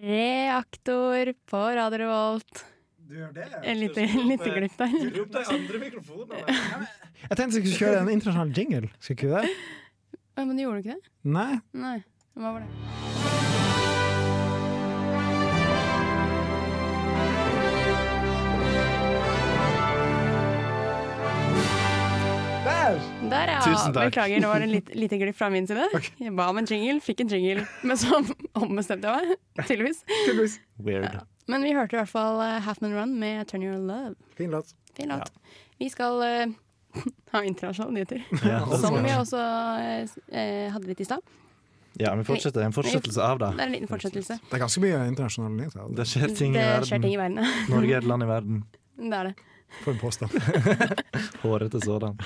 Speaker 7: Reaktor på Radio Revolt. Du gjør det? En lite, lite glipp der. Du
Speaker 3: ropte i andre mikrofoner.
Speaker 9: Jeg tenkte vi skulle kjøre en internasjonal jingle. Skal ikke vi det?
Speaker 7: Men du gjorde ikke det?
Speaker 9: Nei?
Speaker 7: Nei. Hva var det?
Speaker 9: Der!
Speaker 7: Der, ja.
Speaker 9: Tusen takk.
Speaker 7: Beklager, nå var det en lite, lite glipp fra min side. Jeg ba om en jingle, fikk en jingle, men så ombestemte jeg meg. Tydeligvis.
Speaker 3: Weird.
Speaker 7: Men vi hørte i hvert fall eh, Half Moon Run med Turn Your Love.
Speaker 9: Fin låt.
Speaker 7: Fin låt. Vi skal eh, ha internasjonale nyheter,
Speaker 3: Ja, det
Speaker 7: som
Speaker 3: skal vi.
Speaker 7: vi også eh, s- eh, hadde litt i stad.
Speaker 3: Ja, vi fortsetter. En fortsettelse av
Speaker 7: Det
Speaker 3: det.
Speaker 7: er en liten fortsettelse.
Speaker 9: Det er ganske mye internasjonale nyheter.
Speaker 3: Det skjer ting i
Speaker 7: Det
Speaker 3: verden.
Speaker 7: skjer ting i verden, ja.
Speaker 3: Norge er et land i verden.
Speaker 7: Det er det.
Speaker 9: For en påstand.
Speaker 3: Hårete sådan.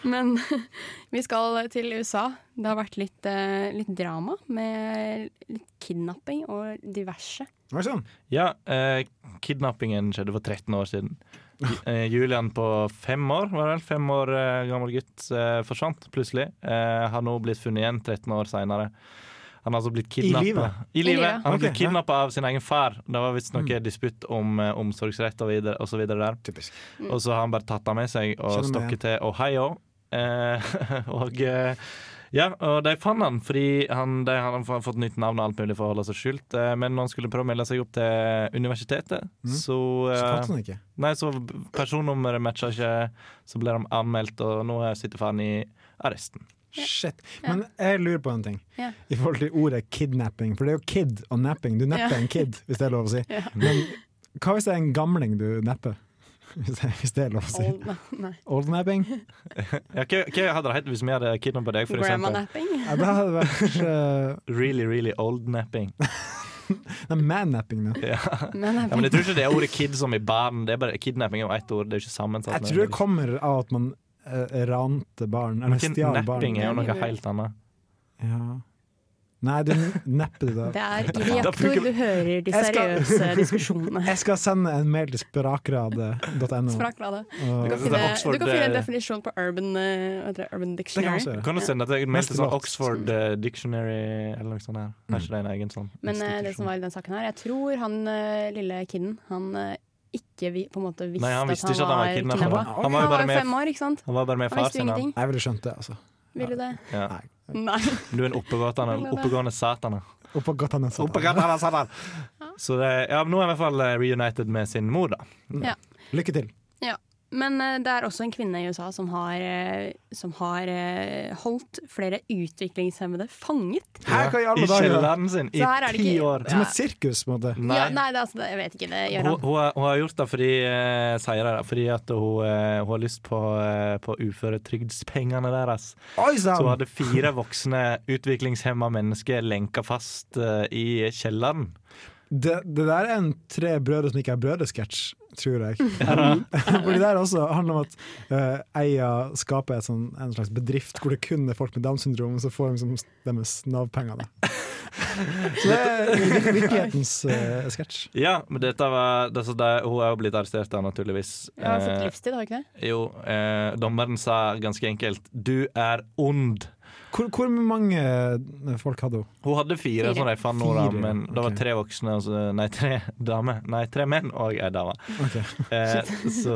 Speaker 7: Men vi skal til USA. Det har vært litt, eh, litt drama med litt kidnapping og diverse.
Speaker 9: Var det sånn?
Speaker 3: Ja, eh, kidnappingen skjedde for 13 år siden. Ju- Eh, Julian på fem år, var det vel? Fem år eh, gammel gutt eh, forsvant plutselig. Eh, har nå blitt funnet igjen 13 år seinere. Han har altså blitt kidnappa.
Speaker 9: livet?
Speaker 3: I
Speaker 9: I livet.
Speaker 3: livet. Han har blitt
Speaker 9: Ok, ja. Mm.
Speaker 3: kidnappa av sin egen far. Det var visst noe disputt om eh, omsorgsrett og, videre, og så videre der.
Speaker 9: Typisk.
Speaker 3: Og så har han bare tatt han med seg og
Speaker 9: Kjenner meg
Speaker 3: stukket til Ohio. Eh, og eh, ja, og de fant han fordi han, de hadde f- fått nytt navn og alt mulig for å holde seg skjult. Eh, men når han skulle prøve å melde seg opp til universitetet, så
Speaker 9: Mm. Så
Speaker 3: eh,
Speaker 9: fant han ikke.
Speaker 3: Nei, så b- personnummeret matcha ikke, så ble de anmeldt, og nå sitter faren i arresten.
Speaker 9: Shit. Men jeg lurer på en ting
Speaker 7: Ja.
Speaker 9: i forhold til ordet kidnapping. For det er jo kid og napping. Du napper
Speaker 7: Ja.
Speaker 9: en kid, hvis det er lov å si.
Speaker 7: Ja.
Speaker 9: Men hva hvis det er en gamling du napper? Hvis det, hvis det er lov å si.
Speaker 7: Old, nei.
Speaker 9: Oldnapping?
Speaker 3: Ja, hva, hva hadde det hett hvis vi hadde kidnappa deg, for eksempel?
Speaker 7: Grandma-napping.
Speaker 9: Ja, det hadde vært eh,
Speaker 3: Really, really old napping.
Speaker 9: Nei, man-napping, da.
Speaker 3: Ja. ja, men jeg tror ikke det er ordet kid som i barn. Det er bare Kidnapping er jo ett ord, det er ikke sammensatt.
Speaker 9: Jeg tror det kommer av at man eh, rante barn, eller
Speaker 3: Men
Speaker 9: stjal barn.
Speaker 3: napping er jo noe helt annet.
Speaker 9: Ja. Nei, du nepper det da.
Speaker 7: Det er i reaktor du hører de
Speaker 9: Jeg skal-
Speaker 7: seriøse diskusjonene.
Speaker 9: Jeg skal sende en mail til sprakrade.no.
Speaker 7: Sprakrade.
Speaker 9: Og-
Speaker 7: Du kan finne, du kan finne en definisjon på urban, eh, hva heter det, urban dictionary.
Speaker 3: Kan du sende deg en mail til
Speaker 9: Neste
Speaker 3: sånn
Speaker 9: låt.
Speaker 3: Oxford eh, Dictionary eller noe sånt? her Har ikke de en egen sånn?
Speaker 7: Men eh, det som var i den saken her, jeg tror han eh, lille kiden, han eh, ikke vi, på en måte visste,
Speaker 3: Nei, han visste
Speaker 7: at
Speaker 3: ikke at
Speaker 7: han var
Speaker 3: han var kidnappet.
Speaker 7: kidnappa.
Speaker 3: Han var jo bare med-
Speaker 7: fem år, ikke sant?
Speaker 3: Han var bare med
Speaker 7: Han
Speaker 3: far
Speaker 7: visste jo
Speaker 3: sin. han.
Speaker 7: ingenting.
Speaker 9: Jeg ville skjønt det, altså.
Speaker 7: Ville det?
Speaker 3: Ja.
Speaker 7: Nei.
Speaker 3: Du er en oppegående, oppegående satan.
Speaker 9: Oppå godt han er satt.
Speaker 3: Oppegående satan. Så det, ja, nå er i hvert fall eh, reunited med sin mor, da.
Speaker 7: Ja.
Speaker 9: Lykke til.
Speaker 7: Ja. Men eh, det er også en kvinne i USA som har, eh, som har eh, holdt flere utviklingshemmede fanget.
Speaker 9: Her, hva i alle
Speaker 3: I
Speaker 9: dager?
Speaker 3: kjelleren Mm. sin i
Speaker 7: Så her er det
Speaker 3: ti
Speaker 7: ikke-
Speaker 3: år.
Speaker 9: Som et sirkus, på en måte.
Speaker 7: Nei, ja, nei det, er altså, det, jeg vet ikke. Det gjør
Speaker 3: Hun,
Speaker 7: han.
Speaker 3: hun, har- hun har gjort det fordi, eh, sier det, fordi at hun, eh, hun har lyst på, eh, på uføretrygdspengene deres.
Speaker 9: Oi, sann!
Speaker 3: så hun hadde fire voksne utviklingshemma mennesker lenka fast eh, i kjelleren.
Speaker 9: Det, det der er en tre brødre som ikke er brødre-sketsj, tror jeg. For det der også handler om at eh, eia skaper et sånn, en slags bedrift hvor det kun er folk med Downs syndrom, og så får de liksom deres Nav-penger. da. Så det er vir- virkelighetens eh, sketsj.
Speaker 3: Ja, men dette var det, så det, Hun er jo blitt arrestert, da, naturligvis.
Speaker 7: Ja, han har fått
Speaker 3: Eh,
Speaker 7: livstid, har han ikke det?
Speaker 3: jo, eh, dommeren sa ganske enkelt 'du er ond'.
Speaker 9: Hvor, hvor mange eh, folk hadde hun?
Speaker 3: Hun hadde fire,
Speaker 9: Fire.
Speaker 3: som de fant nå, da,
Speaker 9: Fire, ja.
Speaker 3: men det var
Speaker 9: Ok.
Speaker 3: tre voksne, og så- nei, tre damer. Nei, tre menn og ei dame.
Speaker 9: Ok.
Speaker 3: Eh,
Speaker 9: Shit.
Speaker 3: så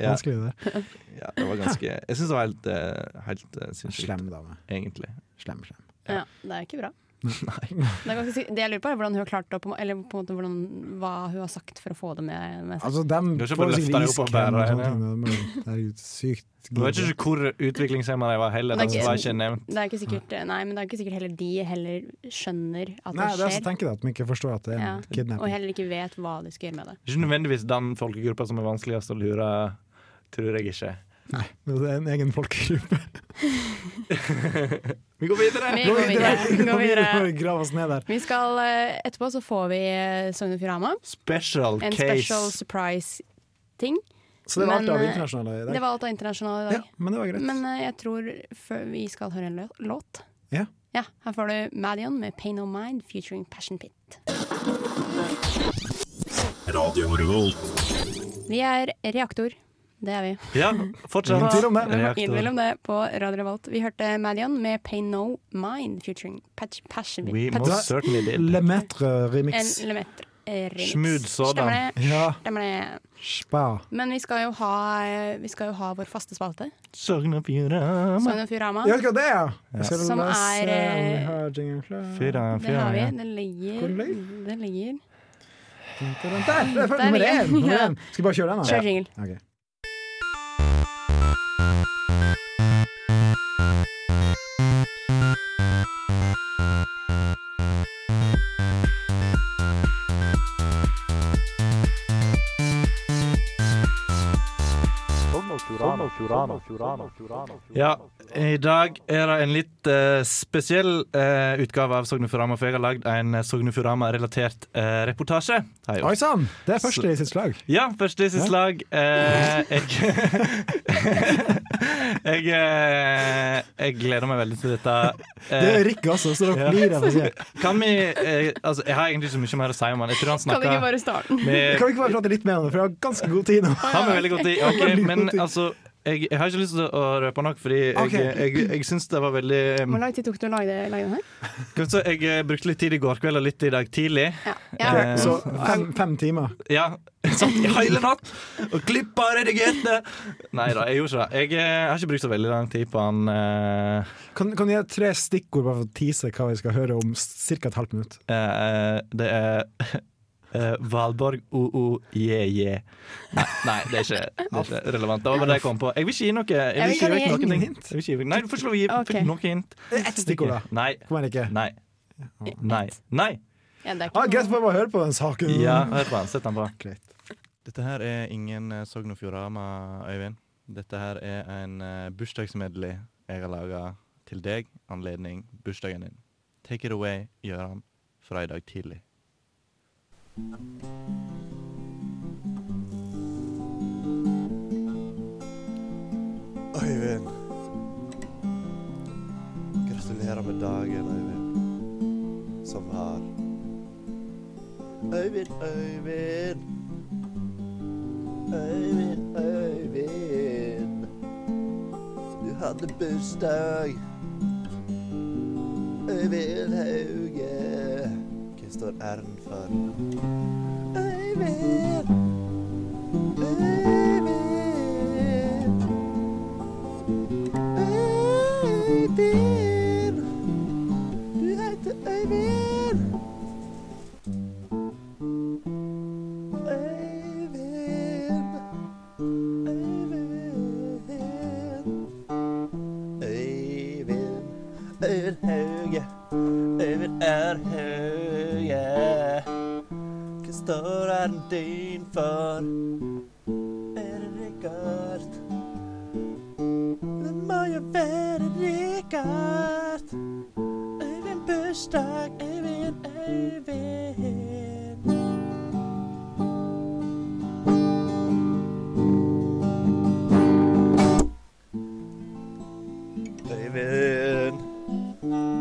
Speaker 3: ja.
Speaker 9: Vanskelig det der.
Speaker 3: ja, det var ganske Jeg syns det var helt, eh, helt eh, sinnssykt.
Speaker 9: Slem dame.
Speaker 3: Egentlig.
Speaker 9: Slem, slem.
Speaker 7: Ja, det er ikke bra.
Speaker 3: Nei.
Speaker 7: Det, er ganske, sikkert- det jeg lurer på, er hvordan hun har klart å på, en må- Eller på en måte hvordan, hva hun har sagt for å få det med, med seg.
Speaker 9: Altså, dem
Speaker 3: Du har ikke
Speaker 9: får
Speaker 3: bare løftet
Speaker 9: sikkert
Speaker 3: deg opp og
Speaker 9: iskrem og
Speaker 3: bæret
Speaker 9: sånne
Speaker 3: henne,
Speaker 9: ting, men det er jo sykt
Speaker 3: Jeg vet ikke hvor utviklingshemma de var heller.
Speaker 7: Det er
Speaker 3: Det
Speaker 7: ikke-
Speaker 3: var ikke nevnt.
Speaker 7: Det er ikke sikkert eh, Nei, men det er ikke sikkert heller de heller skjønner at
Speaker 9: Nei, det
Speaker 7: det
Speaker 9: er altså så
Speaker 7: skjer.
Speaker 9: tenker jeg at de ikke forstår at det er
Speaker 7: ja.
Speaker 9: en
Speaker 7: Og
Speaker 9: kidnapping.
Speaker 7: heller ikke vet hva de skal gjøre med det.
Speaker 3: Ikke nødvendigvis den folkegruppa som er vanskeligst å lure, tror jeg ikke.
Speaker 9: Nei, det er en egen folkegruppe.
Speaker 3: Vi går videre!
Speaker 7: Vi går videre. Vi går
Speaker 9: Bare
Speaker 7: videre.
Speaker 9: grav oss ned der.
Speaker 7: Vi skal, eh, etterpå så får vi eh, Sogn og Fjordane.
Speaker 3: Special
Speaker 7: En
Speaker 3: case.
Speaker 7: special surprise-ting.
Speaker 9: Så det var alt
Speaker 7: Men,
Speaker 9: av
Speaker 7: eh,
Speaker 9: internasjonale i dag.
Speaker 7: Det var alt av internasjonale i dag.
Speaker 9: men det var greit.
Speaker 7: Men eh, jeg tror før vi skal høre en lø- låt.
Speaker 9: Ja.
Speaker 7: Ja, Her får du Madion med 'Pain of Mind' featuring Passion Pit.
Speaker 12: Radio Revolt.
Speaker 7: Vi er reaktor. Det er vi.
Speaker 3: Ja, fortsatt. Ingen tvil om det. Reaktor.
Speaker 7: Ingen tvil om det på Radio Revolt. Vi hørte Madion med 'Pain No Mind' featuring Patch Passion
Speaker 3: We
Speaker 7: Patch-
Speaker 3: most certainly did.
Speaker 9: Le Maître remix.
Speaker 7: En Lemaitre, eh, remix.
Speaker 9: Smooth sådan.
Speaker 7: Stemmer det.
Speaker 9: Ja.
Speaker 7: Stemmer det.
Speaker 9: Spa.
Speaker 7: Men vi skal jo ha, eh, vi skal jo ha vår faste spalte,
Speaker 3: Sogn og Fjordane.
Speaker 7: Sogn og Fjordama.
Speaker 9: Ja, hva det er?
Speaker 3: Ja.
Speaker 9: Jeg skal
Speaker 7: Som
Speaker 9: lese
Speaker 7: er,
Speaker 9: om vi
Speaker 7: eh,
Speaker 9: har jingle klar.
Speaker 3: Fyra,
Speaker 7: Det har vi.
Speaker 3: ja.
Speaker 7: Den ligger,
Speaker 9: Hvor
Speaker 7: den ligger.
Speaker 9: Der! Det er
Speaker 7: Der
Speaker 9: for- nummer
Speaker 7: ligger
Speaker 9: én!
Speaker 7: den.
Speaker 9: nummer
Speaker 7: Ja.
Speaker 9: én. Skal vi bare kjøre den? da?
Speaker 7: Kjør jingle.
Speaker 9: Ok.
Speaker 3: Ja, i dag er det en litt eh, spesiell eh, utgave av Sogn og Fjordane. For jeg har lagd en eh, Sogn og Fjordane-relatert eh, reportasje. har jeg gjort.
Speaker 9: Oi sann! Det er første i sitt slag.
Speaker 3: Ja, første i sitt slag. Eh, jeg jeg, eh, jeg gleder meg veldig til dette.
Speaker 9: Det er Rikke også, så da flirer jeg på siden.
Speaker 3: Kan vi eh, Altså, jeg har egentlig ikke så mye mer å si om han. Jeg tror han
Speaker 7: Kan vi
Speaker 3: snakker
Speaker 7: ikke bare starte
Speaker 9: Kan
Speaker 3: med
Speaker 9: vi ikke bare prate litt mer om det, for jeg har ganske god tid nå.
Speaker 3: Han har veldig god tid. Ok,
Speaker 9: Veldig god
Speaker 3: men
Speaker 9: tid.
Speaker 3: altså Jeg, jeg har ikke lyst til å røpe noe, fordi jeg,
Speaker 7: Ok.
Speaker 3: jeg, jeg, syns det var veldig
Speaker 7: Hvor lang tid tok det å lage, det, lage den her?
Speaker 3: Skal vi se, Jeg eh, brukte litt tid i går kveld og litt i dag tidlig.
Speaker 7: Ja.
Speaker 3: Eh,
Speaker 9: Så fem, fem timer.
Speaker 3: ja, jeg satt i hele natt og klippa og redigerte! Nei da, jeg gjorde ikke det. Jeg eh, har ikke brukt så veldig lang tid på han. eh,
Speaker 9: Kan, kan du gi tre stikkord bare for å tease hva vi skal høre om ca. et halvt minutt?
Speaker 3: eh, det er eh, Valborg o-o-je-je. Nei, nei, det er ikke, det er ikke relevant. Det var bare det jeg kom på. Jeg vil ikke gi noe. Jeg vil ikke gi vekk noen ting. Jeg vil ikke gi vekk- Nei, du får ikke lov å gi
Speaker 7: Ok.
Speaker 3: vekk noe hint.
Speaker 9: Ett stikkord, da.
Speaker 3: Nei. Nei. Nei. Nei.
Speaker 7: Ja, det er
Speaker 9: Ah,
Speaker 7: ikke
Speaker 9: greit, bare bare høre på den saken.
Speaker 3: Ja, hør på han. Sett han på. Dette her er ingen eh, Sogn og Fjordane, Øyvind. Dette her er en eh, bursdagsmedley jeg har laga til deg, anledning bursdagen din. Take it away, Gøran, fra i dag tidlig.
Speaker 14: Øyvind. Gratulerer med dagen, Øyvind. Som har Øyvind, Øyvind. Øyvind, Øyvind. Du hadde bursdag. Øyvind Hauge. Hva står R-en for? Øyvind. Øyvind. Øyvind. Du heter Øyvind. Øyvind. Øyvind. Øyvind. Øyvind Hauge. Øyvind er Hauge. Hva står r din for? Er det Richard? Det må jo være Richard. Øyvind bursdag, Øyvind, Øyvind. Øyvind,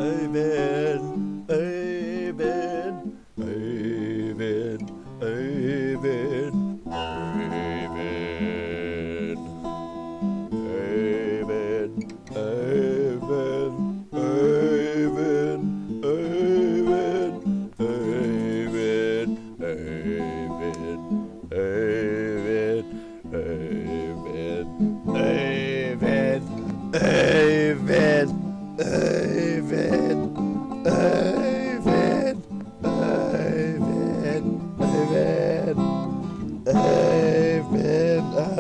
Speaker 14: Øyvind, Øyvind, Øyvind, Øyvind, Øyvind. Øyvind, Øyvind, Øyvind, Øyvind, Øyvind, Øyvind, Øyvind, Øyvind, Øyvind, Øyvind, Øyvind, Øyvind, Øyvind, Øyvind. Øyvind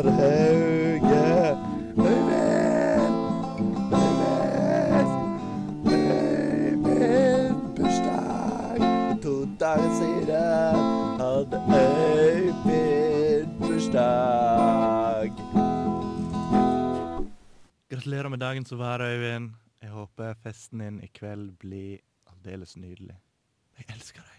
Speaker 14: er Hauge. Øyvind! Øyvind! Øyvind bursdag. To dager siden hadde Øyvind bursdag.
Speaker 3: Gratulerer med dagen som var, Øyvind. Jeg håper festen din i kveld blir aldeles nydelig. Jeg elsker deg.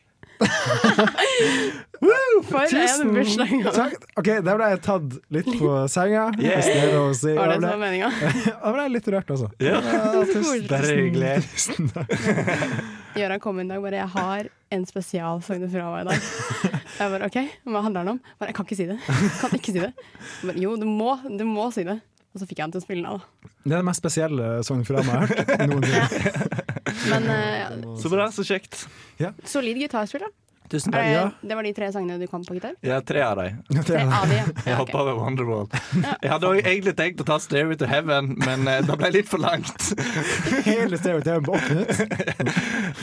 Speaker 7: For en
Speaker 9: Tusen
Speaker 7: bursdag.
Speaker 9: Takk. Ok, Der ble jeg tatt litt på senga.
Speaker 3: Yeah.
Speaker 9: hvis det er lov å si.
Speaker 7: Var det
Speaker 9: Jeg
Speaker 7: som
Speaker 9: ble-
Speaker 7: var meningen?
Speaker 9: Jeg ble litt rørt, altså.
Speaker 3: Ja.
Speaker 9: tusen-
Speaker 3: Bare hyggelig.
Speaker 9: tusen takk.
Speaker 7: Gøran kom en dag bare 'Jeg har en spesial Sogn og Fjordane i dag'. Jeg bare 'OK, hva handler den om?' Bare, 'Jeg kan ikke si det'. Jeg kan ikke si det. Jeg Bare, jo, du må, du må si det. Og så fikk jeg han til å spille den av, da.
Speaker 9: Det er det mest spesielle Sogn og Fjordane jeg har hørt noensinne.
Speaker 7: Men eh,
Speaker 3: Så bra, så kjekt.
Speaker 7: solid gitarspill, da.
Speaker 3: Tusen
Speaker 7: Er
Speaker 3: takk.
Speaker 7: det-
Speaker 3: Ja.
Speaker 7: Det var de tre sangene du kan på gitar?
Speaker 3: Ja, tre av dem.
Speaker 7: Tre av de, ja.
Speaker 3: Jeg hoppa over Wonderwall. Jeg hadde også egentlig tenkt å ta Stairway to Heaven, men eh, det ble litt for langt.
Speaker 9: Hele stereotypen på åtte minutter.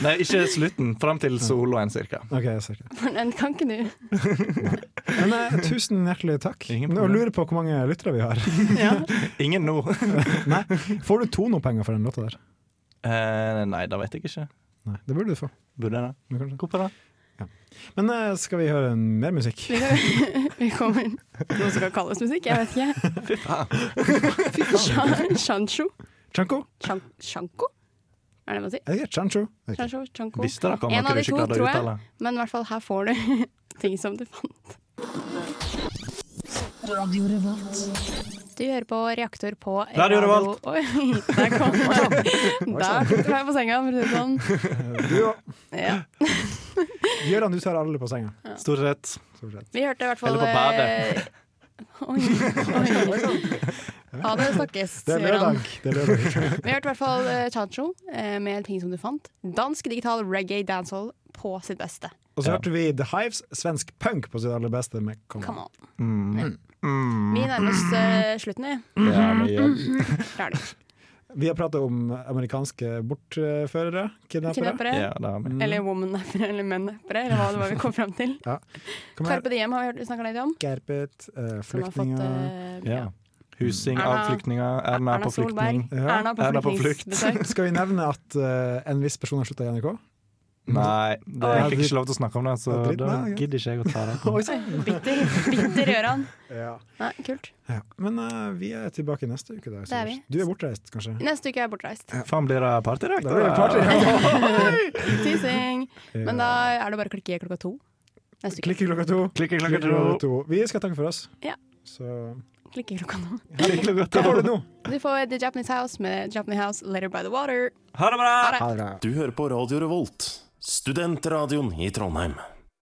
Speaker 3: Nei, ikke slutten. Fram til soloen, cirka.
Speaker 9: Ok, jeg ser ikke.
Speaker 7: For den kan ikke du.
Speaker 9: Men eh, Tusen hjertelig takk. Nå
Speaker 3: problem.
Speaker 9: lurer på hvor mange lyttere vi har.
Speaker 3: Ingen nå.
Speaker 9: Nei. Får du tonopenger for den låta der?
Speaker 3: Eh, nei, det vet jeg ikke.
Speaker 9: Nei, det burde du få.
Speaker 3: Burde jeg
Speaker 9: det?
Speaker 3: Hvorfor det?
Speaker 9: Men eh, skal vi høre mer musikk?
Speaker 7: Vi, kan, vi kommer noe som kan kalles musikk, jeg vet ikke. Fy faen. Shancho?
Speaker 9: Chanko?
Speaker 7: Shanko? Er det det man sier?
Speaker 9: Jeg heter Chancho.
Speaker 7: Shancho, Shanko.
Speaker 9: Visste dere om
Speaker 7: En
Speaker 9: dere
Speaker 7: av de
Speaker 9: ikke
Speaker 7: to,
Speaker 9: klarte å
Speaker 7: tror jeg.
Speaker 9: uttale?
Speaker 7: Men i hvert fall, her får du ting som du fant.
Speaker 15: Radio Revolt.
Speaker 7: Du hører på Reaktor på
Speaker 15: Radio Revolt.
Speaker 7: Oi, der kom
Speaker 9: sånn.
Speaker 7: Der tok du meg på senga, for å si det sånn.
Speaker 9: Du òg.
Speaker 7: Ja.
Speaker 9: Gøran, du tar alle på senga.
Speaker 7: Ja.
Speaker 3: Stort sett.
Speaker 9: Stort sett.
Speaker 7: Vi hørte i hvert fall
Speaker 9: Eller på
Speaker 7: eh, Oi, oi. eh, Ha det, snakkes.
Speaker 9: sånn. Det er lørdag. Det er lørdag.
Speaker 7: Vi hørte i hvert fall eh, Chancho eh, med ting som du fant. Dansk digital reggae dancehall på sitt beste.
Speaker 9: Og så hørte vi The Hives, svensk punk på sitt aller beste med Come
Speaker 7: Come on.
Speaker 9: Mm.
Speaker 7: Vi nærmer oss eh, slutten, vi.
Speaker 9: Ja, vi gjør.
Speaker 7: Klarer det.
Speaker 9: Vi har prata om amerikanske bortførere, kidnappere. Mm.
Speaker 7: Kidnappere. Eller woman-nappere, eller menn-nappere, eller hva det var vi kom fram til.
Speaker 9: Ja. Kom her.
Speaker 7: Carpe Diem har vi snakka litt om.
Speaker 9: Gerpet, eh,
Speaker 7: Som har fått,
Speaker 9: flyktninger
Speaker 7: eh, ja.
Speaker 3: Husing
Speaker 7: Erna-
Speaker 3: av flyktninger. Erna,
Speaker 7: Erna
Speaker 3: på
Speaker 7: Solberg.
Speaker 3: flyktning.
Speaker 7: Ja. Erna på flyktningsbesøk.
Speaker 9: Skal vi nevne at eh, en viss person har slutta i NRK?
Speaker 3: Nei, det,
Speaker 9: Ja,
Speaker 3: jeg fikk
Speaker 9: dritt.
Speaker 3: ikke lov til å snakke om det, så
Speaker 9: Ja, dritt,
Speaker 3: da
Speaker 9: nei, ja.
Speaker 3: gidder ikke jeg å ta det.
Speaker 9: Oi, sann.
Speaker 7: Bitter, bitter Gøran. Nei, kult.
Speaker 9: Ja. Men eh, vi er tilbake neste uke. Da,
Speaker 7: Det er vi.
Speaker 9: Sivert. du er bortreist, kanskje?
Speaker 7: Neste uke er jeg bortreist.
Speaker 3: Faen, blir det party i dag?
Speaker 9: Da blir det party, ja.
Speaker 7: Tysing. Men da er det bare å klikke klokka to neste uke.
Speaker 9: Klikke klokka to.
Speaker 3: Klikke klokka
Speaker 9: Klikke to. Vi skal takke for oss.
Speaker 7: Ja.
Speaker 9: Så
Speaker 7: Klikke klokka nå.
Speaker 9: Hva får du nå?
Speaker 7: Du får The Japanese House med Japanese House Later by the Water.
Speaker 12: Ha det bra!
Speaker 7: Ha
Speaker 12: Du hører på Radio Revolt, studentradioen i Trondheim.